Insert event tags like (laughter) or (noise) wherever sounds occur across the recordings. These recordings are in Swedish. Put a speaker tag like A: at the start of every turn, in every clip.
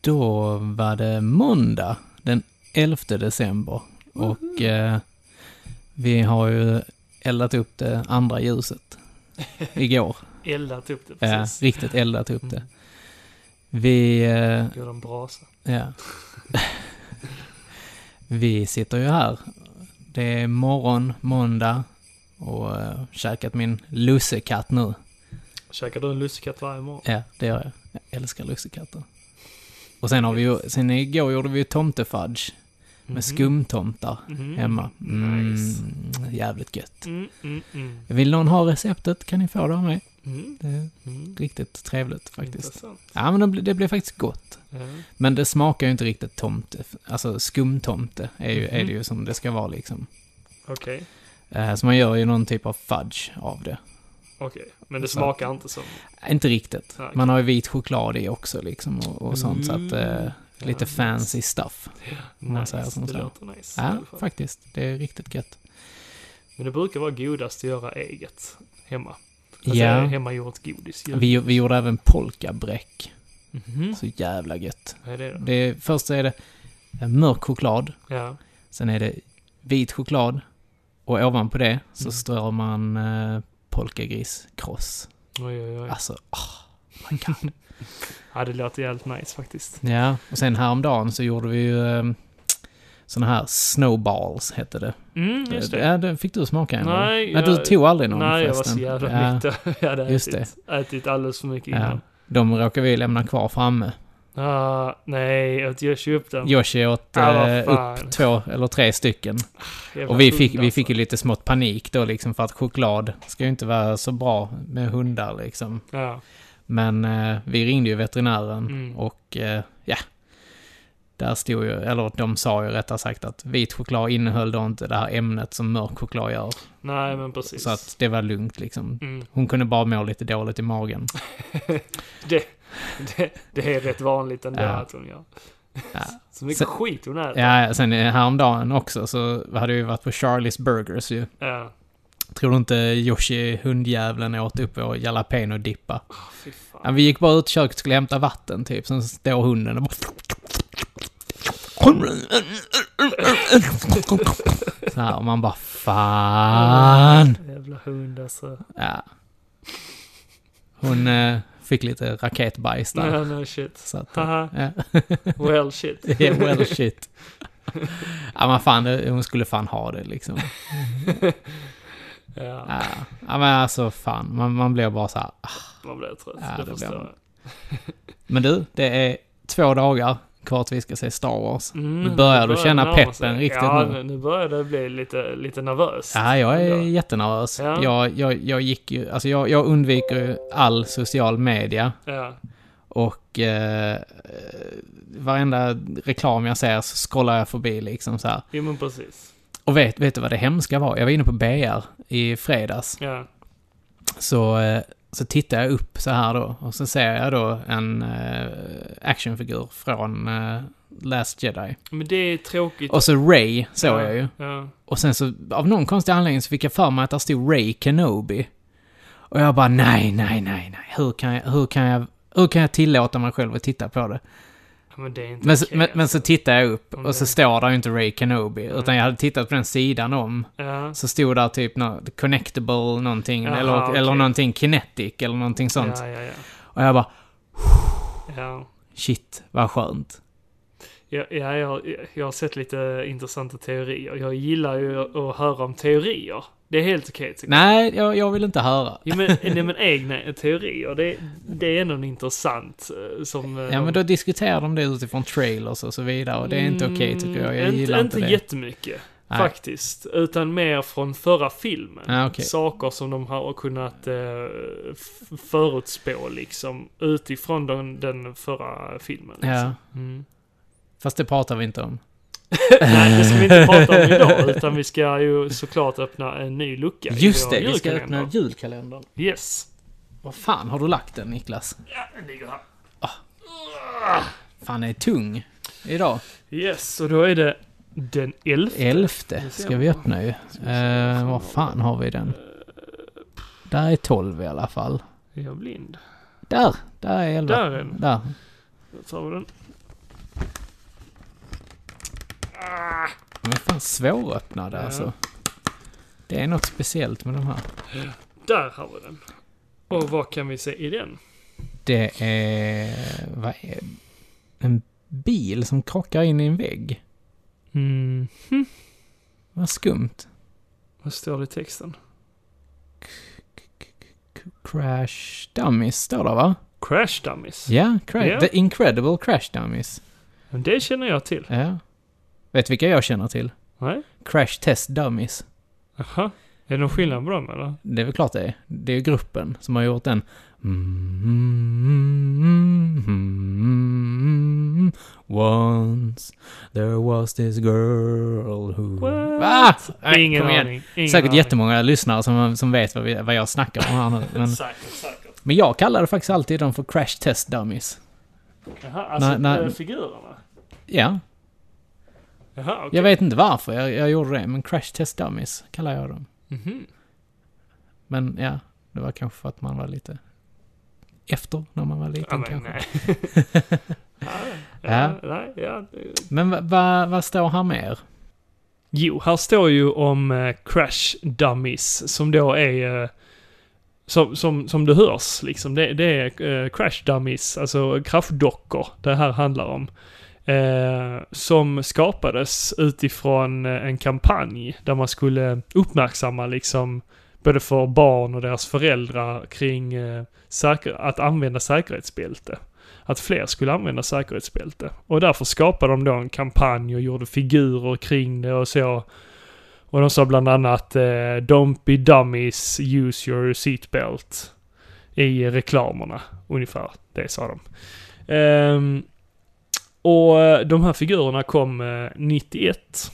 A: då var det måndag den 11 december. Och eh, vi har ju eldat upp det andra ljuset
B: (laughs)
A: igår.
B: Eldat upp det
A: ja,
B: precis.
A: riktigt eldat upp det.
B: Mm.
A: Vi, eh,
B: Gör en brasa.
A: ja. (laughs) vi sitter ju här. Det är morgon, måndag och eh, käkat min lussekatt nu.
B: Käkar du en lussekatt varje morgon?
A: Ja, det gör jag. Jag älskar lussekatter. Och sen har vi ju, sen igår gjorde vi ju tomtefudge
B: Mhm.
A: med skumtomtar
B: Mhm.
A: hemma. Mm,
B: Nice.
A: Jävligt gött.
B: Mm, mm, mm.
A: Vill någon ha receptet kan ni få det av mig.
B: Mm,
A: Det är
B: mm.
A: riktigt trevligt faktiskt.
B: Intressant.
A: Ja, men det blir, det blir faktiskt gott.
B: Ja.
A: Men det smakar ju inte riktigt tomte. Alltså skumtomte är ju,
B: Mhm.
A: är det ju som det ska vara liksom.
B: Okej,
A: Eh, Så man gör ju någon typ av fudge av det.
B: okej. Men det
A: Så-
B: smakar inte som...
A: Inte riktigt.
B: Nej, okej.
A: Man har ju vit choklad i också liksom och, och sånt så att eh, lite
B: Mm. Ja,
A: fancy stuff. om man
B: nice.
A: säger som
B: det
A: så.
B: låter nice. i
A: Ja,
B: alla fall.
A: faktiskt. Det är riktigt gött.
B: Men det brukar vara godast att göra eget hemma. Alltså
A: Ja,
B: hemmagjort godis.
A: vi, vi gjorde även polkabräck.
B: Mhm.
A: Så jävla gött.
B: Vad är det då?
A: Det är, först är det eh, mörk choklad,
B: Ja.
A: sen är det vit choklad och ovanpå det så
B: Mm.
A: strör man eh, polkagriskross.
B: Oj, oj, oj.
A: Alltså, oh my god.
B: Ja, det låter jävligt nice faktiskt.
A: ja, och sen häromdagen så gjorde vi ju eh, såna här snowballs hette det.
B: Mm, just det.
A: Ja, det fick du smaka en? eller?
B: Nej,
A: Men du
B: jag-
A: tog aldrig någon
B: Nej, jag var
A: förresten.
B: så jävla
A: Ja.
B: (laughs) nykter. Jag hade
A: Just
B: ätit, ätit alldeles för mycket
A: Ja.
B: innan.
A: De råkar vi lämna kvar framme.
B: Ah, nej, jag- jag köpte den.
A: Yoshi åt
B: Ah, vad
A: eh,
B: fan.
A: upp två eller tre stycken.
B: Jävla
A: Och vi fick,
B: hund,
A: vi
B: alltså.
A: fick ju lite smått panik då liksom för att choklad ska ju inte vara så bra med hundar liksom.
B: Ja.
A: Men eh, vi ringde ju veterinären
B: Mm.
A: och eh, ja, där stod ju, eller de sa ju rättare sagt att vit choklad innehöll då inte det här ämnet som mörk choklad gör.
B: Nej, men precis.
A: Så att det var lugnt liksom.
B: Mm.
A: Hon kunde bara må lite dåligt i magen.
B: Det, det, det är rätt vanligt ändå
A: Ja.
B: att hon gör.
A: Ja.
B: (laughs) Så mycket
A: Sen-
B: skit hon äter.
A: Ja, sen eh, häromdagen också så hade vi varit på Charlies Burgers ju.
B: Ja.
A: Tror du inte Yoshi, hundjävlen, åt upp vår jalapeno-dippa?
B: Ah, fy fan.
A: Ja, vi gick bara ut i köket och skulle hämta vatten typ, sen står hunden och bara... Så här, och man bara fan.
B: Jävla hund alltså.
A: Ja. Hon eh, fick lite raketbajs där.
B: No, no shit.
A: Så att, eh,
B: Haha,
A: ja. (laughs)
B: well shit.
A: Yeah, well shit. Ja men fan, det- hon skulle fan ha det liksom.
B: Ja,
A: (laughs) Ja, ja men alltså fan, man, man blir bara så här. ah.
B: man blir trött.
A: Ja,
B: det,
A: det
B: förstår
A: blir man.
B: jag.
A: Men du, det är två dagar kvar till vi ska se Star Wars.
B: Mm,
A: Nu börjar du
B: det
A: känna
B: närma sig.
A: peppen riktigt
B: ja,
A: nu.
B: nu. nu börjar det bli lite, lite nervöst.
A: Ja, jag är
B: ändå.
A: jättenervös.
B: Ja.
A: Jag, jag, jag gick ju, alltså jag, jag undviker ju all social media
B: Ja.
A: och eh, eh, varenda reklam jag ser så scrollar jag förbi liksom så här.
B: Jo, men precis.
A: Och vet, vet du vad det hemska var? Jag var inne på BR i fredags.
B: Ja.
A: så, eh, så tittar jag upp så här då och så ser jag då en eh, actionfigur från eh, Last Jedi.
B: Men det är tråkigt.
A: Och så Ray såg
B: ja.
A: jag ju.
B: Ja.
A: Och sen så av någon konstig anledning så fick jag för mig att där stod Ray Kenobi. Och jag bara nej, nej, nej, nej. Hur kan jag, hur kan jag, hur kan jag tillåta mig själv att titta på det?
B: Ja, Men det är inte
A: Men, så-
B: okej,
A: men, men så tittar jag upp
B: Om
A: och så
B: det-
A: står där ju inte Ray Kenobi. Utan
B: Nej.
A: jag hade tittat på den sidan om.
B: Ja.
A: Så stod där typ nå- connectable någonting.
B: Jaha,
A: eller, eller
B: okej.
A: någonting kinetic eller någonting sånt.
B: Ja, ja, ja.
A: Och jag bara
B: ja.
A: Shit, vad skönt.
B: Ja, ja jag, jag har sett lite intressanta teorier. Jag gillar ju att höra om teorier. Det är helt okej tycker jag.
A: Nej, jag, jag vill inte höra.
B: Jo, men, nej, men egna teorier, det, det är ändå intressant. eh, Som, eh,
A: Ja, men då diskuterar de det utifrån trailers och så vidare och det är inte okej tycker jag. Jag
B: Mm,
A: gillar inte, det.
B: jättemycket,
A: Nej.
B: faktiskt. Utan mer från förra filmen.
A: Ah, okej.
B: Saker som de har kunnat eh, f- förutspå liksom, utifrån den, den förra filmen. Liksom.
A: Ja,
B: Mm.
A: fast det pratar vi inte om.
B: Nej, det ska vi inte prata om
A: (laughs)
B: idag, utan vi ska ju såklart öppna en ny lucka i
A: Just
B: vår
A: det, vi ska
B: julkalender.
A: öppna julkalendern.
B: Yes.
A: Vad fan har du lagt den, Niklas?
B: Ja, den ligger här.
A: Fan, den är tung idag.
B: Yes, och då är det den 11.
A: Elfte
B: ser
A: ska
B: jag.
A: vi öppna ju.
B: vi se,
A: Eh,
B: vad
A: var
B: fan
A: fan har vi den? Där är 12 i alla fall.
B: Är jag blind?
A: Där! Där är 11.
B: Där är den.
A: Där.
B: Då tar vi den.
A: De är fan svåröppnade
B: Ja.
A: alltså. Det är något speciellt med de här.
B: Där har vi den. Och vad kan vi se i den?
A: Det är... Vad är En bil som krockar in i en vägg.
B: Mm.
A: Vad skumt.
B: Vad står det i texten?
A: Crash Dummies står det va?
B: Crash Dummies.
A: Ja, cra-
B: Ja.
A: The Incredible Crash Dummies.
B: Men Det känner jag till.
A: Ja. Vet du vilka jag känner till?
B: Nej?
A: Crash Test Dummies.
B: Aha. Är det någon skillnad på dem eller?
A: Det är väl klart det är. Det är ju gruppen som har gjort den. Mm, mm, mm, mm, mm. Once there was this girl who...
B: What?
A: Va? Nej,
B: Ingen
A: kom igen.
B: aning. Ingen
A: Säkert
B: aning.
A: jättemånga lyssnare som, som vet vad, vi, vad jag snackar om här nu. Men,
B: Säkert, säkert.
A: men jag kallade faktiskt alltid dem för Crash Test Dummies.
B: Jaha, alltså
A: Nej, nej.
B: eh, figurerna?
A: Ja,
B: Jaha, okej.
A: Jag vet inte varför jag, jag gjorde det, men Crash Test Dummies kallar jag dem.
B: Mhm.
A: Men ja, det var kanske för att man var lite efter när man var liten
B: Ja, men
A: kanske.
B: nej. (laughs) ja,
A: (laughs) Ja.
B: ja. Nej, ja. det-
A: Men vad va, vad står här mer?
B: Jo, här står ju om eh, crash dummies som då är... Eh, som, som, som det hörs liksom. Det, det är eh, crash dummies, alltså kraschdockor det här handlar om. Eh, som skapades utifrån eh, en kampanj där man skulle uppmärksamma liksom både för barn och deras föräldrar kring eh, säker- att använda säkerhetsbälte. Att fler skulle använda säkerhetsbälte. Och därför skapade de då en kampanj och gjorde figurer kring det och så. Och de sa bland annat eh, Don't be dummies, use your seatbelt. I reklamerna, ungefär. Det sa de. Ehm, och eh, de här figurerna kom eh, 91.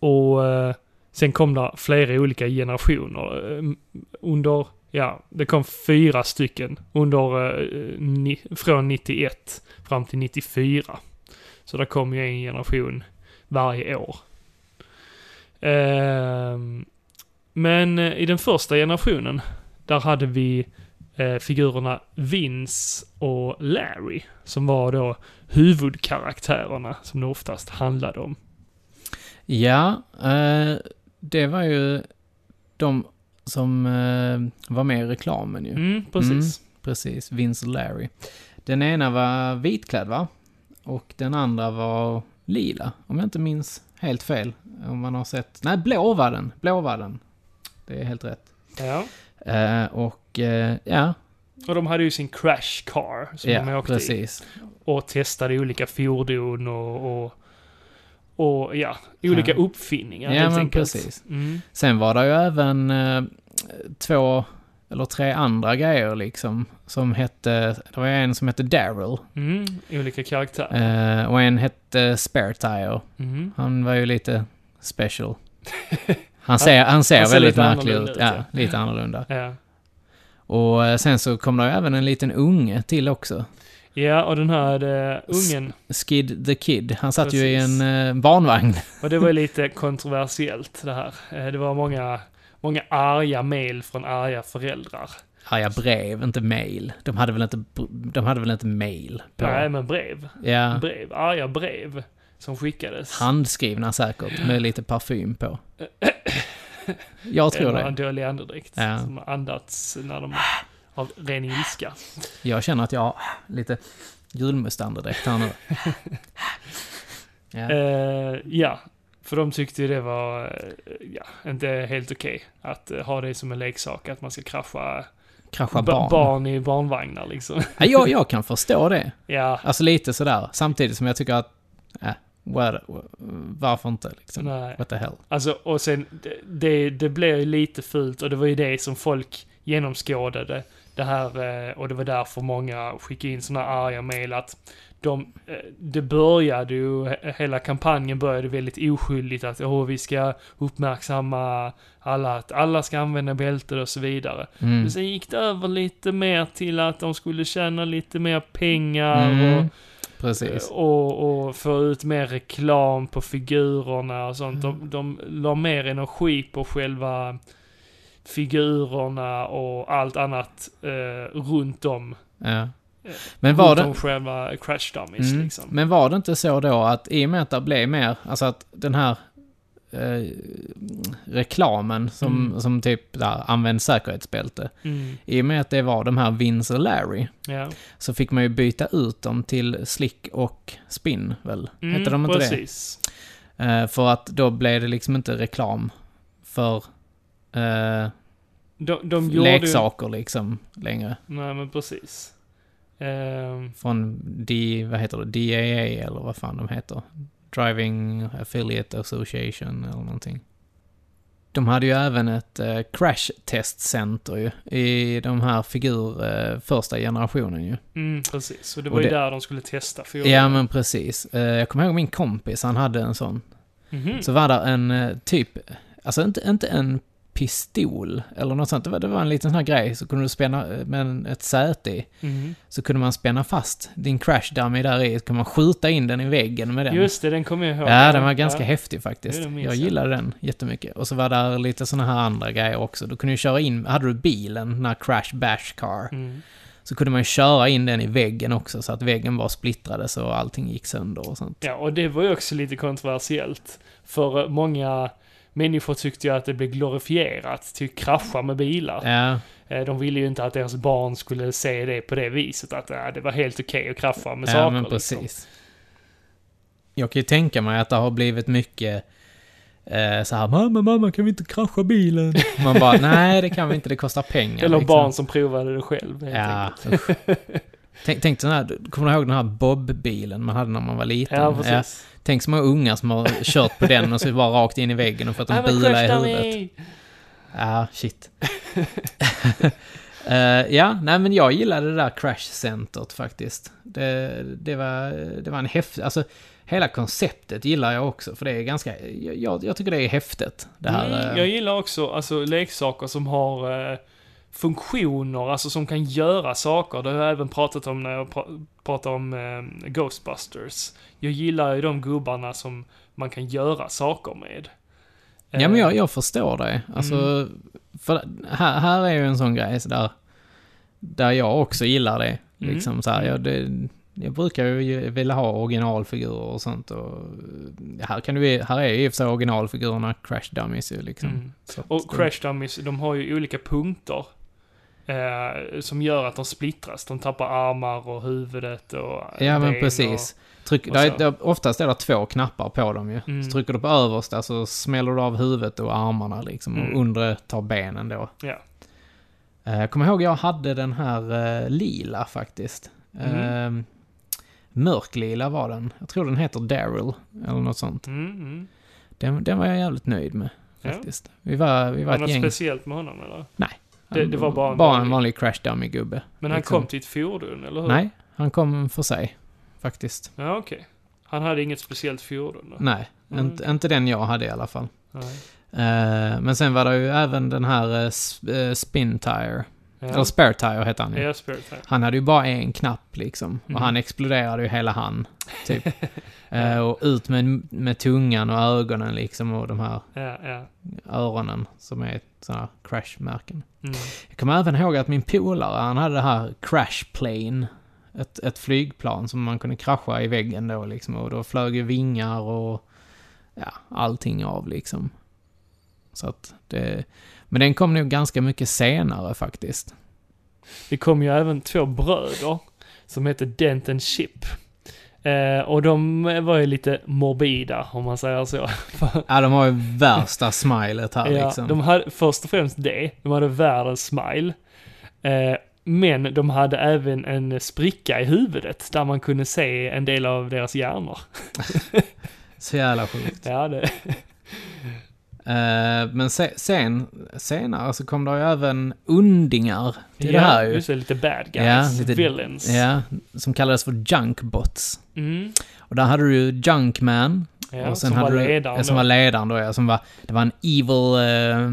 B: Och eh, sen kom det flera olika generationer. eh, under, ja, det kom fyra stycken under, eh, ni, från 91 fram till 94. Så det kom ju en generation varje år. Ehm, men eh, i den första generationen, där hade vi eh, figurerna Vince och Larry, som var då huvudkaraktärerna som det oftast handlade om.
A: Ja, eh, det var ju de som eh, var med i reklamen ju.
B: Mm, precis.
A: Precis, Vince och Larry. Den ena var vitklädd va? Och den andra var lila, om jag inte minns helt fel. Om man har sett... Nej, blå var den. Blå var den. Det är helt rätt.
B: Ja.
A: Eh, och eh, ja,
B: Och de hade ju sin crash car som de
A: ja
B: åkte i.
A: precis.
B: och testade olika fordon och, och, och ja, olika
A: Ja.
B: uppfinningar
A: Ja,
B: helt
A: men
B: enkelt.
A: precis.
B: Mm.
A: Sen var det ju även eh, två eller tre andra grejer liksom. Som hette, det var en som hette Daryl
B: Mm. Olika karaktärer.
A: eh, och en hette Spare Tire.
B: Mm.
A: Han var ju lite
B: (laughs)
A: special. Han ser, han ser
B: han ser
A: väldigt
B: lite
A: märklig ut.
B: annorlunda ut,
A: Ja, lite annorlunda.
B: Ja.
A: Och eh, sen så kom det ju även en liten unge till också.
B: ja, och den här eh, ungen,
A: Skid the Kid. Han satt ju i
B: Precis.
A: en eh, barnvagn.
B: och det var ju lite (laughs) kontroversiellt det här. Eh, Det var många, många arga mejl från arga föräldrar.
A: Arga brev, inte mail. De hade väl inte, br- de hade väl inte mail på?
B: Nej, men brev.
A: ja,
B: brev. Arga brev som skickades.
A: handskrivna säkert, med lite parfym på. Jag tror
B: Eller Eh, en
A: det.
B: dålig andedräkt
A: Ja.
B: som andats
A: (gasps)
B: när de av ren ilska.
A: Jag känner att jag har lite julmustandedräkt här nu. Ja.
B: Eh, ja, för de tyckte ju det var eh, ja, inte helt okej att eh, ha det som en leksak, att man ska krascha
A: Krascha
B: ba-
A: barn.
B: barn i barnvagnar liksom. (laughs)
A: Ja, jag, jag kan förstå det.
B: ja,
A: Alltså lite sådär, samtidigt som jag tycker att, äh, what, varför inte liksom?
B: nej.
A: What the hell?
B: Alltså, och sen, det- det, det blev ju lite fult och det var ju det som folk genomskådade. Det här, eh, och det var därför många skickade in sådana arga mejl att de, eh, det började ju, he- hela kampanjen började väldigt oskyldigt att åh, vi ska uppmärksamma alla, att alla ska använda bälten och så vidare.
A: Mm.
B: Men sen gick det över lite mer till att de skulle tjäna lite mer pengar
A: Mm,
B: Eh, och,
A: precis.
B: och, och få ut mer reklam på figurerna och sånt.
A: Mm.
B: De, de la mer energi på själva figurerna och allt annat eh, runt om
A: Ja. Men var
B: hot
A: det...
B: om själva crash dummies
A: Mm.
B: liksom.
A: Men var det inte så då att i och med att det blev mer, alltså att den här eh, reklamen som,
B: Mm.
A: som typ där, använd säkerhetsbälte.
B: Mm.
A: I och med att det var de här Vince och Larry
B: Ja.
A: så fick man ju byta ut dem till Slick och Spin väl?
B: Mm,
A: Hette de inte
B: precis.
A: det? Eh, för att då blev det liksom inte reklam för eh,
B: De, de gjorde ju...
A: leksaker liksom längre.
B: Nej, men precis. Ehm,
A: Från D, vad heter det? DAA eller vad fan de heter. Driving Affiliate Association eller någonting. De hade ju även ett eh, crash test center ju, i de här figur eh, första generationen ju.
B: mm, precis. Och det
A: Och
B: var ju
A: det-
B: där de skulle testa för
A: Ja men precis. Eh, jag kommer ihåg min kompis, han hade en sån.
B: Mhm.
A: Så var där en eh, typ, alltså inte, inte en pistol eller något sånt. Det var, det var en liten sån här grej så kunde du spänna eh, med en- ett säte i.
B: Mhm.
A: Så kunde man spänna fast din crash dummy där i, så kunde man skjuta in den i väggen med den.
B: Just det, den kommer jag ihåg.
A: Ja, den var ganska häftig faktiskt.
B: Det minns
A: Jag
B: jag.
A: gillade den jättemycket. Och så var där lite såna här andra grejer också. Du kunde ju köra in, hade du bilen, den här crash bash car,
B: Mm.
A: så kunde man ju köra in den i väggen också så att väggen var splittrade så allting gick sönder och sånt.
B: Ja, och det var ju också lite kontroversiellt. För eh, många människor tyckte ju att det blev glorifierat till att krascha med bilar.
A: Ja,
B: Eh, De ville ju inte att deras barn skulle se det på det viset, att eh, det var helt okej att krascha med
A: ja
B: saker.
A: men
B: liksom.
A: precis. Jag kan ju tänka mig att det har blivit mycket eh, så här mamma, mamma kan vi inte krascha
B: (laughs)
A: bilen? Man bara nej det kan vi inte, det kostar pengar.
B: Eller
A: liksom.
B: barn som provade det själv, helt enkelt.
A: Ja, usch. Tänk, tänk den här, kommer du ihåg den här Bob-bilen man hade när man var liten?
B: Ja, precis.
A: Tänk så många unga som har kört på den och så bara rakt in i väggen och fått en bula i huvudet. Ja, shit. (laughs) Eh, ja, nej men jag gillade det där crash-centret faktiskt. Det, det, var, det var en häftig, alltså hela konceptet gillar jag också för det är ganska, jag, jag tycker det är häftigt. Det här,
B: Mm,
A: eh,
B: jag gillar också alltså, leksaker som har eh, funktioner, alltså som kan göra saker. Det har jag även pratat om när jag pra- pratar om eh, Ghostbusters. Jag gillar ju de gubbarna som man kan göra saker med.
A: Ja, men
B: Eh, mm.
A: jag, jag förstår dig. Alltså, för här, här är ju en sån grej så där, där jag också gillar det.
B: Mm.
A: Liksom, så här, jag, det jag brukar ju vilja ha originalfigurer och sånt. Och, eh, här, kan du, här är ju i och för sig originalfigurerna Crash Dummies ju liksom.
B: Mm.
A: Så att
B: Och
A: det-
B: Crash Dummies, de har ju olika punkter. Eh, som gör att de splittras. De tappar armar och huvudet och
A: Ja, men
B: ben
A: precis. Tryck,
B: och
A: där,
B: så.
A: är- där, oftast är det två knappar på dem ju.
B: Mm.
A: Så trycker du på översta så smäller du av huvudet och armarna liksom.
B: Mm.
A: Och undre tar benen då.
B: Ja.
A: Eh, Jag kommer ihåg jag hade den här eh, lila faktiskt.
B: Mm.
A: Eh, mörklila var den. Jag tror den heter Daryl eller något sånt.
B: Och, mm, mm.
A: Den, den var jag jävligt nöjd med
B: Ja.
A: faktiskt. Vi var, vi var
B: Var det
A: ett
B: något
A: gäng.
B: speciellt med honom eller? det- det var bara en
A: bara en
B: vanlig-
A: vanlig crash dummy-gubbe.
B: Men han
A: Liksom.
B: kom till ett fordon, eller hur?
A: Nej, han kom för sig faktiskt.
B: Ja, okej. Han hade inget speciellt fordon då?
A: Nej,
B: Mm.
A: inte, inte den jag hade i alla fall.
B: Nej.
A: Eh, men sen var det ju även den här eh, sp- eh, Spin Tire. Eller
B: Ja.
A: Spare Tire hette han ju.
B: Ja, Spirit Fair.
A: Han hade ju bara en knapp liksom.
B: Mhm.
A: Och han exploderade ju hela han.
B: (laughs)
A: Typ. Eh, och ut med, med tungan och ögonen liksom och de här
B: Ja, ja.
A: öronen som är sådana här crash-märken. (laughs)
B: Mm.
A: Jag kommer även ihåg att min polare, han hade det här crash plane. Ett, ett flygplan som man kunde krascha i väggen då liksom. Och då flög ju vingar och ja, allting av liksom. Så att det... Men den kom nog ganska mycket senare faktiskt.
B: Det kom ju även två bröder som hette Dent and Chip. Eh, och de var ju lite morbida, om man säger så.
A: Ja, de har ju värsta smilet här
B: (laughs) Ja,
A: liksom.
B: de hade först och främst det. De hade världens smile. Eh, men de hade även en spricka i huvudet där man kunde se en del av deras hjärnor.
A: Så jävla sjukt.
B: Ja, det...
A: Eh, men se, sen, senare så kom det ju även undingar till
B: ja,
A: det här ju.
B: Just det, lite bad
A: Ja,
B: guys.
A: lite-
B: villains.
A: Ja, som kallades för junkbots.
B: Mm,
A: Och där hade du ju Junkman.
B: ja,
A: och
B: som var
A: du-
B: ledaren
A: ja, som
B: då.
A: var ledaren då, ja, som var, Det var en evil eh,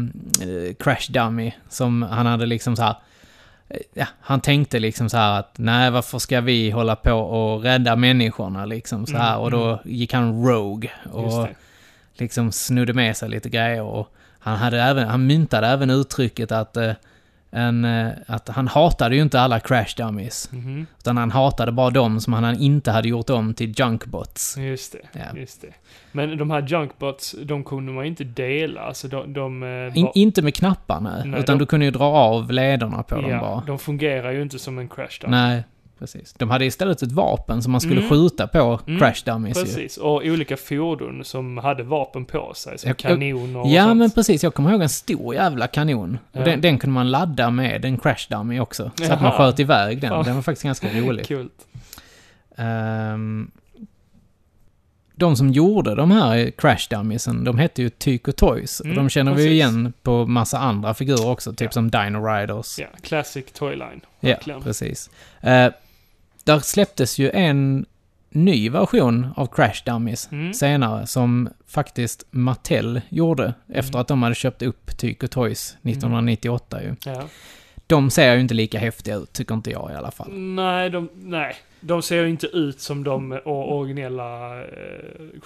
A: eh, crash dummy. Som han hade liksom så här... eh, Ja, han tänkte liksom så här att nej, varför ska vi hålla på och rädda människorna liksom så här.
B: Mm,
A: och då gick han rogue.
B: Just
A: Och
B: det.
A: liksom snodde med sig lite grejer. Och han, hade även, han myntade även uttrycket att eh, en, eh, att han hatade ju inte alla crash dummies.
B: Mhm.
A: Utan han hatade bara de som han inte hade gjort om till junkbots.
B: Just det,
A: Ja.
B: just det. Men de här junkbots, de kunde man ju inte dela. Alltså de... de eh,
A: In,
B: var-
A: inte med knapparna,
B: Nej,
A: utan
B: de-
A: du kunde ju dra av lederna på dem
B: ja,
A: bara.
B: de fungerar ju inte som en crash dummy.
A: Nej, precis. De hade istället ett vapen som man skulle
B: Mm.
A: skjuta på
B: Mm,
A: crash dummies ju.
B: Precis, och olika fordon som hade vapen på sig, som
A: Jag- jag-
B: kanoner och
A: Ja,
B: sånt.
A: men precis. Jag kommer ihåg en stor jävla kanon.
B: Ja.
A: Och den, den kunde man ladda med en crash dummy också. Så att man
B: Jaha.
A: sköt iväg den.
B: Fan.
A: Den var faktiskt ganska
B: (laughs)
A: rolig.
B: Kul.
A: Ehm, de som gjorde de här crash dummiesen, de hette ju Tyco Toys.
B: Mm,
A: och de känner vi ju
B: precis.
A: igen på massa andra figurer också, typ
B: Ja.
A: som Dino Riders.
B: Ja, classic toyline.
A: Ja,
B: verkligen.
A: precis. Eh, där släpptes ju en ny version av Crash Dummies
B: Mm.
A: senare som faktiskt Mattel gjorde
B: Mm.
A: efter att de hade köpt upp Tyco Toys 1998 ju.
B: Ja.
A: De ser ju inte lika häftiga ut, tycker inte jag i alla
B: Mm.
A: fall.
B: Nej, de, nej, de ser ju inte ut som de eh, or- originella eh,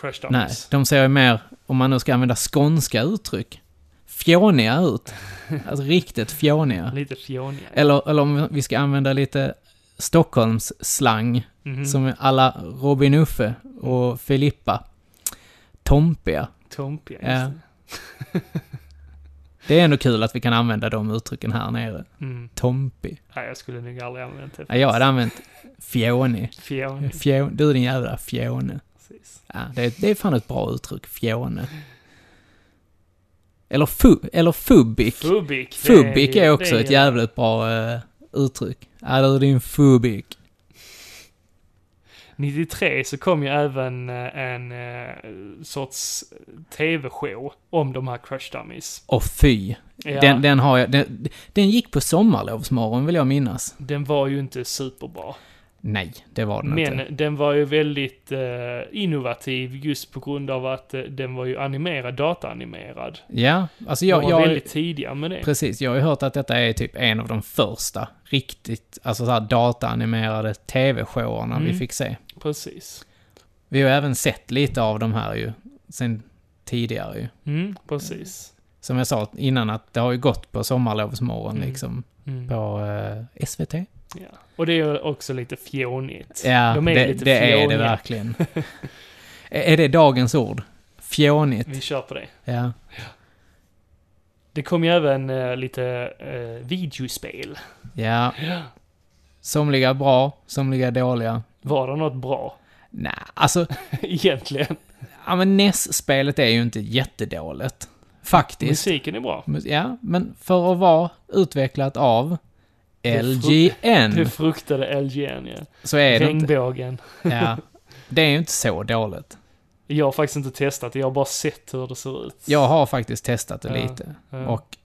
B: crash
A: Mm. Nej,
B: dummies.
A: de ser ju mer, om man nu ska använda skånska uttryck, fjåniga
B: (laughs)
A: ut. Alltså riktigt fjåniga.
B: Lite fjåniga.
A: Eller, eller om vi ska använda lite Stockholms-slang.
B: Mhm.
A: Som är alla Robin Uffe
B: Mm.
A: och Filippa. Tompiga.
B: Tompiga,
A: Ja.
B: just
A: Det är ändå kul att vi kan använda de uttrycken här nere.
B: det. Mm.
A: Tompig.
B: Nej, jag skulle nog aldrig använt det.
A: Ja, jag hade använt fjånig.
B: Fjånig,
A: Fjån, du din jävla fjåne.
B: precis.
A: Ja, det, det är fan ett bra uttryck, fjåne. Eller, fu, eller fubik.
B: Fubik. det
A: Fubik är
B: ju-
A: också
B: det
A: ett jävligt bra eh, uttryck. Ja, du din fubik.
B: 93 så kom ju även eh, en eh, sorts eh, tv-show om de här crash dummies.
A: Och fy.
B: Ja,
A: Den,
B: den,
A: den har jag, den, den gick på sommarlovsmorgon vill jag minnas.
B: var ju inte superbra.
A: Nej, det var den
B: Men
A: inte.
B: den var ju väldigt eh, innovativ just på grund av att eh, den var ju animerad, dataanimerad.
A: Ja, alltså
B: Jag,
A: jag...
B: de var
A: jag
B: väldigt tidiga med det.
A: Precis, jag har ju hört att detta är typ en av de första riktigt, alltså så här dataanimerade tv-showerna vi
B: Mm.
A: fick se.
B: Precis.
A: Vi har ju även sett lite av de här ju, sen tidigare ju.
B: Mm, precis.
A: Som jag sa innan att det har ju gått på sommarlovsmorgon
B: Mm.
A: liksom,
B: Mm.
A: på eh, SVT.
B: Ja. Och det är ju också lite fjånigt.
A: Ja,
B: De är
A: det,
B: lite
A: det är det
B: fjåniga. (laughs)
A: verkligen. är är det dagens ord? Fjånigt.
B: Vi kör på det.
A: Ja.
B: Det kom ju även eh, lite eh, videospel.
A: ja. Somliga bra, somliga dåliga.
B: Var det något bra? (laughs)
A: Nej, alltså
B: Egentligen.
A: Ja, men NES-spelet är ju inte jättedåligt. Faktiskt.
B: Musiken är bra.
A: Mus- Ja, men för att vara utvecklat av
B: är fru- Du
A: LGN
B: fruktade LGN, ja.
A: så Mm. är det inte...
B: Regnbågen.
A: Ja, det är ju inte så dåligt.
B: Jag har faktiskt inte testat det, jag har bara sett hur det ser ut. Eh,
A: Jag har faktiskt testat det
B: Ja,
A: lite.
B: Ja.
A: Och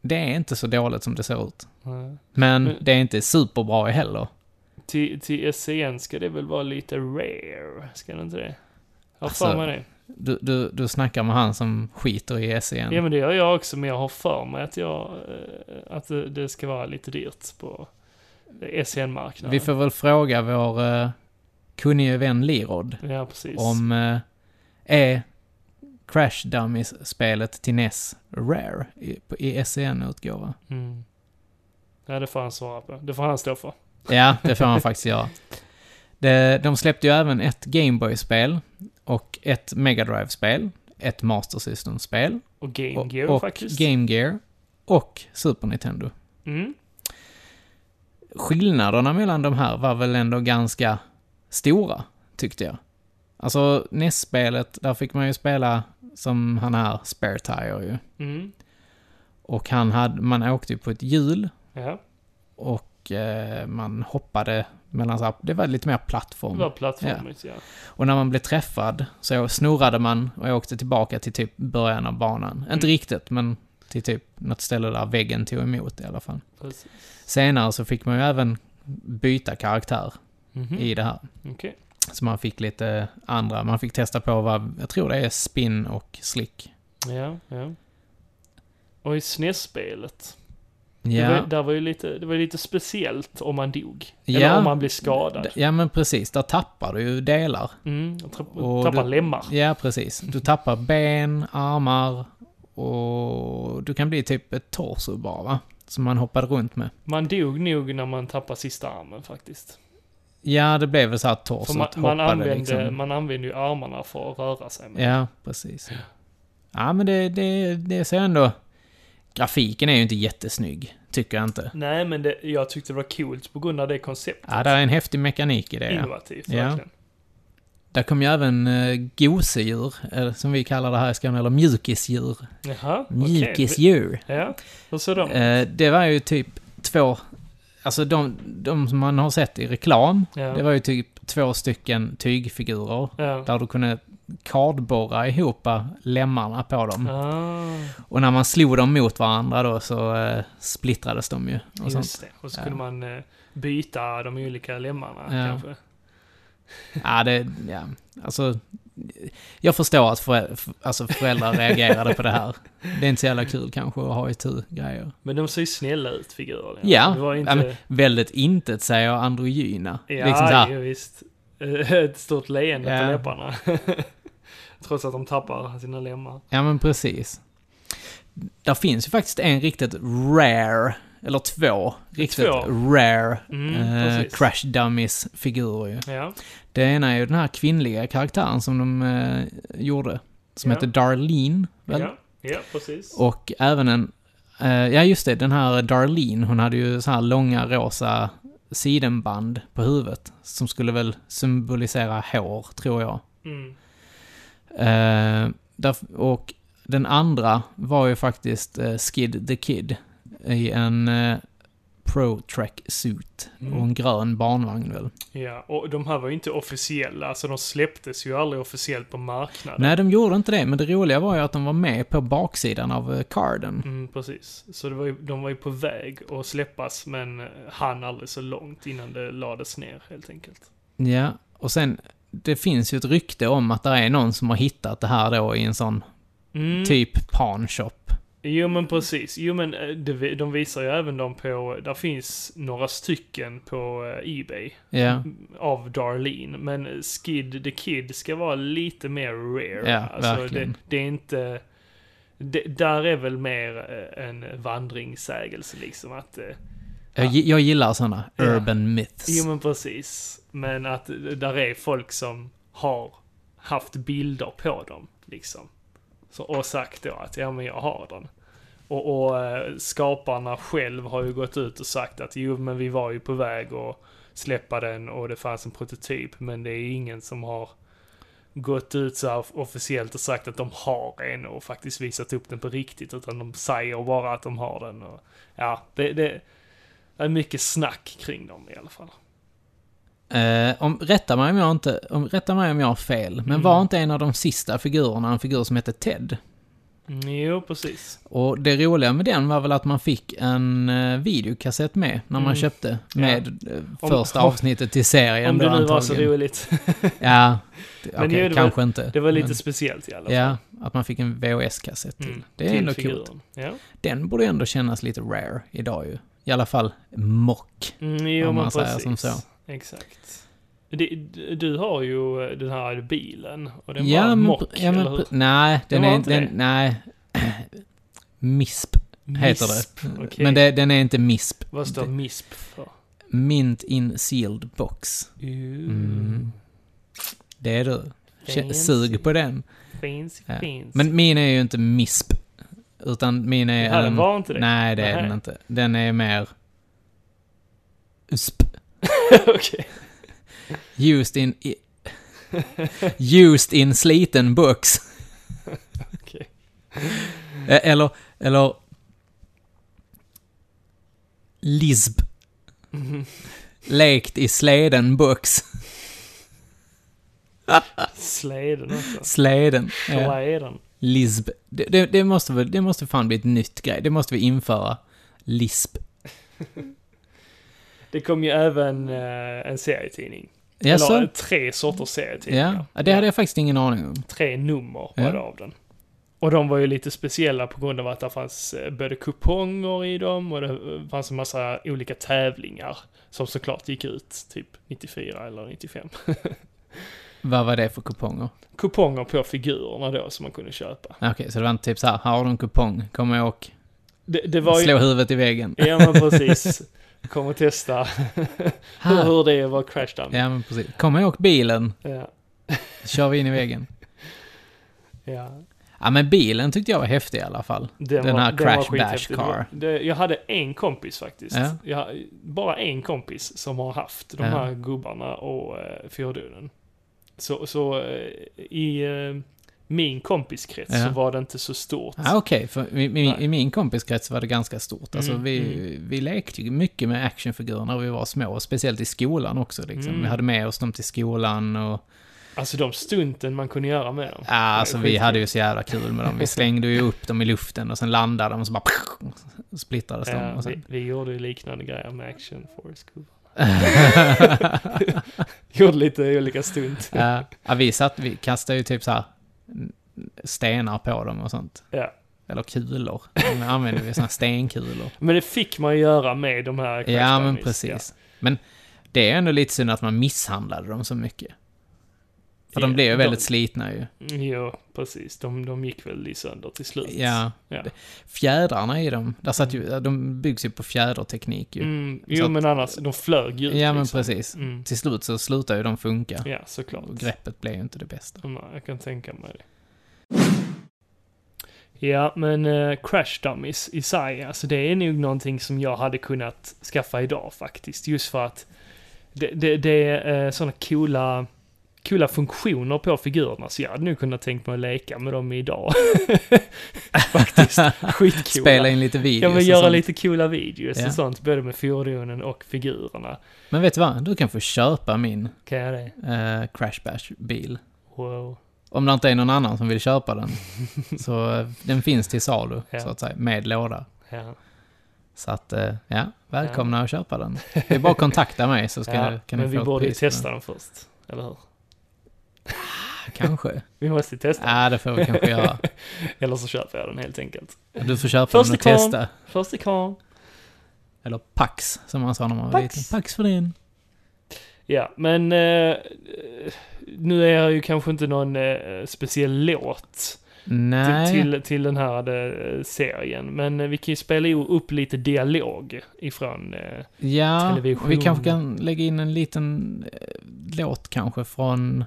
A: det är inte så dåligt som det ser ut.
B: Ja.
A: Men
B: Men-
A: det är inte superbra heller.
B: Till, till SCN ska det väl vara lite rare, ska det inte det? Jag har
A: Alltså,
B: för mig det.
A: Du, du, du snackar med han som skiter i SEN.
B: Ja men det gör jag också, men jag har för mig att, jag, eh, att det, det ska vara lite dyrt på SCN-marknaden.
A: Vi får väl fråga vår uh, kunnige vän Lirod
B: Ja, precis.
A: om eh, är Crash Dummies-spelet till NES Rare i, på- i E SEN-utgåva?
B: Mm. Ja, det får han svara på. Det får han stå för.
A: Ja, det får man faktiskt göra. De, de släppte ju även ett Gameboy-spel och ett Mega Drive-spel, ett Master System-spel
B: Och Game
A: och,
B: Gear
A: och
B: faktiskt.
A: Game Gear och Super Nintendo.
B: Mm.
A: Skillnaderna mellan de här var väl ändå ganska stora, tyckte jag. Alltså, NES-spelet, där fick man ju spela som han här, Spare Tire ju.
B: Mm.
A: Och han hade, man åkte ju på ett hjul
B: Ja,
A: och eh, man hoppade mellan så här, det var lite mer plattform.
B: det var plattformigt, ja.
A: Och när man blev träffad så snurrade man och åkte tillbaka till typ början av banan.
B: Mm.
A: Inte riktigt, men till typ något ställe där väggen tog emot i alla fall.
B: Precis.
A: Senare så fick man ju även byta karaktär
B: Mhm.
A: i det här.
B: Okej.
A: Så man fick lite andra, man fick testa på vad, jag tror det är spin och slick.
B: Ja, ja. Och i SNES-spelet,
A: Ja.
B: det, var, där var ju lite, det var ju lite speciellt om man dog.
A: Ja.
B: Eller om man blev skadad.
A: Ja men precis, där tappar du ju delar.
B: Mm, och trapp,
A: Och
B: tappar
A: det-
B: lemmar.
A: Ja, precis. Du tappar ben, armar och du kan bli typ ett torso bara, va? Som man hoppade runt med.
B: Man dog nog när man tappade sista armen faktiskt.
A: Ja, det blev väl så här
B: För
A: torsot.
B: man, man,
A: hoppade
B: använde,
A: liksom.
B: man använde ju armarna för att röra sig med.
A: Ja, precis. Ja, men det, det, det ser jag ändå... Grafiken är ju inte jättesnygg, tycker jag inte.
B: Nej, men det, jag tyckte det var coolt på grund av det konceptet.
A: Ja, där är en häftig mekanik i det. Ja.
B: Innovativt,
A: Ja.
B: verkligen.
A: Där kom ju även eh, gosedjur, eller som vi kallar det här i Skåne, eller mjukisdjur.
B: Jaha, okej.
A: Mjukisdjur.
B: Ja, hur ser de ut?
A: Eh, det var ju typ två... Alltså de, de som man har sett i reklam,
B: Ja.
A: det var ju typ två stycken tygfigurer.
B: Ja.
A: Där du kunde kardborra ihop lemmarna på dem.
B: Ah,
A: Och när man slog dem mot varandra då så eh, splittrades de ju. Och sånt.
B: just det. Och så
A: Ja.
B: kunde man eh, byta de olika lemmarna
A: Ja.
B: kanske.
A: Ja, det, ja, alltså... Jag förstår att förä- f- alltså föräldrar reagerade på det här. Det är inte så jävla kul kanske att ha i tur grejer.
B: Men de ser ju snälla ut, figurerna.
A: Ja,
B: Det var
A: ja,
B: inte...
A: men- Väldigt intetsäger och androgyna.
B: Ja,
A: liksom så här,
B: jo, visst. (laughs) Eh, Ett stort leende
A: Ja.
B: på läpparna. (laughs) Trots att de tappar sina lemmar.
A: Ja, men precis. Där finns ju faktiskt en riktigt rare, eller två, riktigt
B: Två.
A: rare
B: Mm,
A: eh,
B: precis.
A: Crash Dummies-figurer ju.
B: Ja,
A: Det ena är ju den här kvinnliga karaktären som de eh, gjorde, som
B: Ja.
A: heter Darlene, väl?
B: ja, ja precis.
A: Och även en, eh, ja just det, den här Darlene, hon hade ju så här långa rosa sidenband på huvudet, som skulle väl symbolisera hår, tror jag.
B: Mm.
A: Eh, därf- och den andra var ju faktiskt eh, Skid the Kid i en eh, Pro Track Suit
B: Mm.
A: och en grön barnvagn väl.
B: Ja, och de här var ju inte officiella, alltså de släpptes ju aldrig officiellt på marknaden.
A: Nej, de gjorde inte det, men det roliga var ju att de var med på baksidan av eh, carden.
B: Mm, precis. Så det var ju, de var ju på väg att släppas, men eh, hann aldrig så långt innan det lades ner, helt enkelt.
A: Ja, och sen, det finns ju ett rykte om att det är någon som har hittat det här då i en sån
B: Mm.
A: typ pawnshop.
B: Jo, men precis. Jo, men eh, det vi- de visar ju även dem på, där finns några stycken på eh, Ebay.
A: Ja,
B: av Darlene, men Skid the Kid ska vara lite mer rare. Alltså,
A: Ja,
B: det,
A: verkligen.
B: det är inte... Det, där är väl mer eh, en vandringssägelse liksom att... eh,
A: jag, gi- jag gillar såna
B: Ja.
A: urban myths.
B: Jo men precis. Men att det- där är folk som har haft bilder på dem liksom. Så, och sagt då att ja men jag har den. Och, och eh, skaparna själv har ju gått ut och sagt att jo men vi var ju på väg att släppa den och det fanns en prototyp men det är ingen som har gått ut så här officiellt och sagt att de har en och faktiskt visat upp den på riktigt utan de säger bara att de har den. Och, ja, det, det är mycket snack kring dem i alla fall.
A: Eh, om, rätta, mig om jag inte, om, rätta mig om jag har fel, men
B: Mm.
A: var inte en av de sista figurerna en figur som hette Ted?
B: Mm, Jo, precis.
A: Och det roliga med den var väl att man fick en eh, videokassett med när man
B: Mm.
A: köpte. Med eh,
B: Om-
A: första
B: om-
A: avsnittet till serien
B: Om
A: då
B: det nu var så
A: antagligen.
B: roligt.
A: Ja, det- okej,
B: jo, det var-
A: kanske inte.
B: Det var
A: (laughs)
B: lite
A: men,
B: speciellt i alla fall.
A: Ja, att man fick en VHS-kassett till.
B: Mm,
A: Det är
B: till
A: ändå kul.
B: figuren. Ja.
A: Den borde ändå kännas lite rare idag ju. I alla fall mock.
B: Mm, jo,
A: Om
B: men
A: man säger
B: precis.
A: som så.
B: Exakt. Det, d- du har ju eh, den här bilen och den
A: ja,
B: var
A: men,
B: mock,
A: ja, men,
B: eller hur?
A: pre- Nej, den,
B: var
A: är
B: inte
A: inte... Den,
B: det?
A: nej. (clears throat) MISP heter det. Mm,
B: okej.
A: Men det, den är inte MISP.
B: Vad står
A: Det-
B: MISP för?
A: Mint in sealed box.
B: Mm.
A: Det är du. Kä-
B: Fancy.
A: Sug på den.
B: Fancy,
A: Ja.
B: fancy.
A: Men min är ju inte MISP. Utan min är...
B: Ja, den
A: en-
B: var inte det?
A: ehm, Nej, det är
B: Nähä.
A: den inte. Den är mer... USP.
B: (laughs) Okej.
A: Used in... I, used in sliten box.
B: (laughs) Okej.
A: Eh, Eller... Eller... LISB.
B: (laughs)
A: Lekt i släden box.
B: Släden också.
A: Släden. (laughs) ja.
B: Släden.
A: LISB. Det, det, det, måste väl, det måste fan bli ett nytt grej. Det måste vi införa. LISB.
B: Det kom ju även eh, en serietidning. Eller
A: Jaså?
B: tre sorters
A: Ja.
B: serietidningar.
A: ja, det hade jag faktiskt ingen aning om.
B: Tre nummer var
A: Ja.
B: det av den. Och de var ju lite speciella på grund av att det fanns eh, både kuponger i dem och det eh, fanns en massa olika tävlingar. Som såklart gick ut typ 94 eller 95.
A: Vad var det för kuponger?
B: Kuponger på figurerna då som man kunde köpa.
A: Okej, så det var inte typ så här, här har du en kupong, kom och åk
B: Det, det var ju...
A: Slå huvudet i väggen.
B: Ja men precis.
A: (laughs)
B: Kommer testa hur,
A: Ha.
B: hur det är att vara crash dummy.
A: Ja, men precis. Kom ihåg bilen,
B: Ja.
A: kör vi in i väggen.
B: ja.
A: Ja, men bilen tyckte jag var häftig i alla fall.
B: Den,
A: Den här
B: den var
A: Crash Bash
B: skithäftig. Det var-
A: Car.
B: Det, jag hade en kompis faktiskt.
A: Ja.
B: Jag, bara en kompis som har haft de
A: Ja.
B: här gubbarna och eh, fordonen. Så, så eh, i eh, min kompiskrets
A: Ja.
B: så var det inte så stort.
A: Ja, okej, för i, i,
B: Nej.
A: i min kompiskrets var det ganska stort. Alltså,
B: Mm,
A: vi, vi lekte ju mycket med actionfigurer när vi var små, och speciellt i skolan också. Liksom.
B: Mm.
A: Vi hade med oss dem till skolan och...
B: Alltså de stunten man kunde göra med dem.
A: Ja, alltså vi
B: skitkul.
A: hade ju så jävla kul med dem. Vi slängde ju upp dem i luften och sen landade de och så bara... Splittrades de.
B: Ja,
A: Och
B: vi,
A: sen...
B: Eh, vi gjorde ju liknande grejer med Action Force
A: (laughs)
B: gubbarna. (laughs) gjorde lite olika stunt.
A: Ja, ja, vi, satt, vi kastade ju typ så här stenar på dem och sånt.
B: Ja.
A: Eller kulor. Nu använde vi såna här stenkulor.
B: Men det fick man ju göra med de här Crash
A: Ja, men
B: Dummies,
A: precis. Men det är ändå lite synd att man misshandlade dem så mycket. För de
B: Ja,
A: blev ju
B: de-
A: väldigt slitna ju.
B: Mm, Ja. Jo, precis. De, de gick väl i sönder till slut.
A: Ja.
B: Ja.
A: Fjädrarna i dem, där satt ju, de byggs ju på fjäderteknik ju.
B: Mm,
A: Så
B: jo,
A: att-
B: men annars, de flög ju ut,
A: ja, men
B: liksom.
A: precis.
B: Mm.
A: Till slut så slutar ju de funka.
B: Ja, såklart.
A: Och greppet blev ju inte det bästa.
B: Nej, jag kan tänka mig det. Ja, men eh, Crash Dummies i sig, alltså det är nog någonting som jag hade kunnat skaffa idag faktiskt. Just för att det, det, det är eh, sådana coola, coola funktioner på figurerna, så jag hade nog kunnat tänkt mig att leka med dem idag. (laughs)
A: (laughs)
B: faktiskt. Skitcoola.
A: Spela in lite videos
B: Ja, men
A: och
B: göra
A: sånt.
B: lite coola videos
A: Ja.
B: och sånt, både med fordonen och figurerna.
A: Men vet du vad? Du kan få köpa min
B: Kan jag det?
A: eh, Crash Bash-bil.
B: Wow.
A: Om det inte är någon annan som vill köpa
B: (laughs)
A: den. så eh, den finns till salu,
B: Ja.
A: så att säga, med låda.
B: Ja.
A: Så att, eh, ja, välkomna att köpa den. Det är bara att kontakta mig så ska,
B: ja,
A: kan
B: men
A: ni
B: vi
A: få ett
B: borde ju
A: pris på den.
B: testa dem först, eller hur?
A: (laughs) Kanske.
B: Vi måste testa.
A: Ja, det får vi kanske göra.
B: (laughs) Eller så köper jag den helt enkelt.
A: Du får köpa
B: Först
A: den och
B: till kvarn.
A: testa.
B: Först i kvarn.
A: Eller Pax, som man sa när man var
B: Pax.
A: liten. Pax för din.
B: Ja, men eh, nu är jag ju kanske inte någon eh, speciell låt
A: Nej.
B: till, till, till den här eh, serien. Men eh, vi kan ju spela o- upp lite dialog ifrån... Eh,
A: ja,
B: television.
A: vi kanske kan lägga in en liten eh, låt kanske från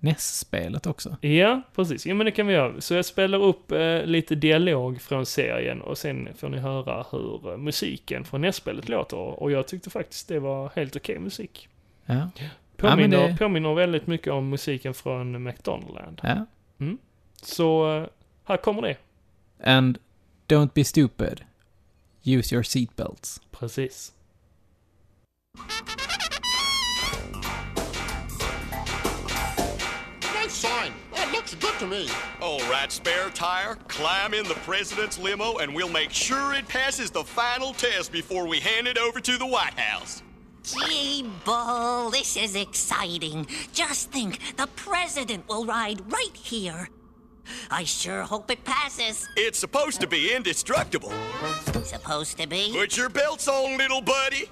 A: NES-spelet också.
B: ja, precis. Ja, men det kan vi göra. Så jag spelar upp eh, lite dialog från serien och sen får ni höra hur eh, musiken från nästspelet låter. Och jag tyckte faktiskt det var helt okej musik.
A: Ja. Ja, men
B: Påminner,
A: det-
B: påminner väldigt mycket om musiken från McDonaldland.
A: ja.
B: Så eh, här kommer det.
A: And don't be stupid. Use your seatbelts.
B: Precis.
C: That's fine. That looks good to me.
D: All right, spare tire, climb in the president's limo, and we'll make sure it passes the final test before we hand it over to the White House.
E: Gee, Bull, this is exciting. Just think, the president will ride right here. I sure hope it passes.
D: It's supposed to be indestructible.
E: Supposed to be.
D: Put your belts on, little buddy.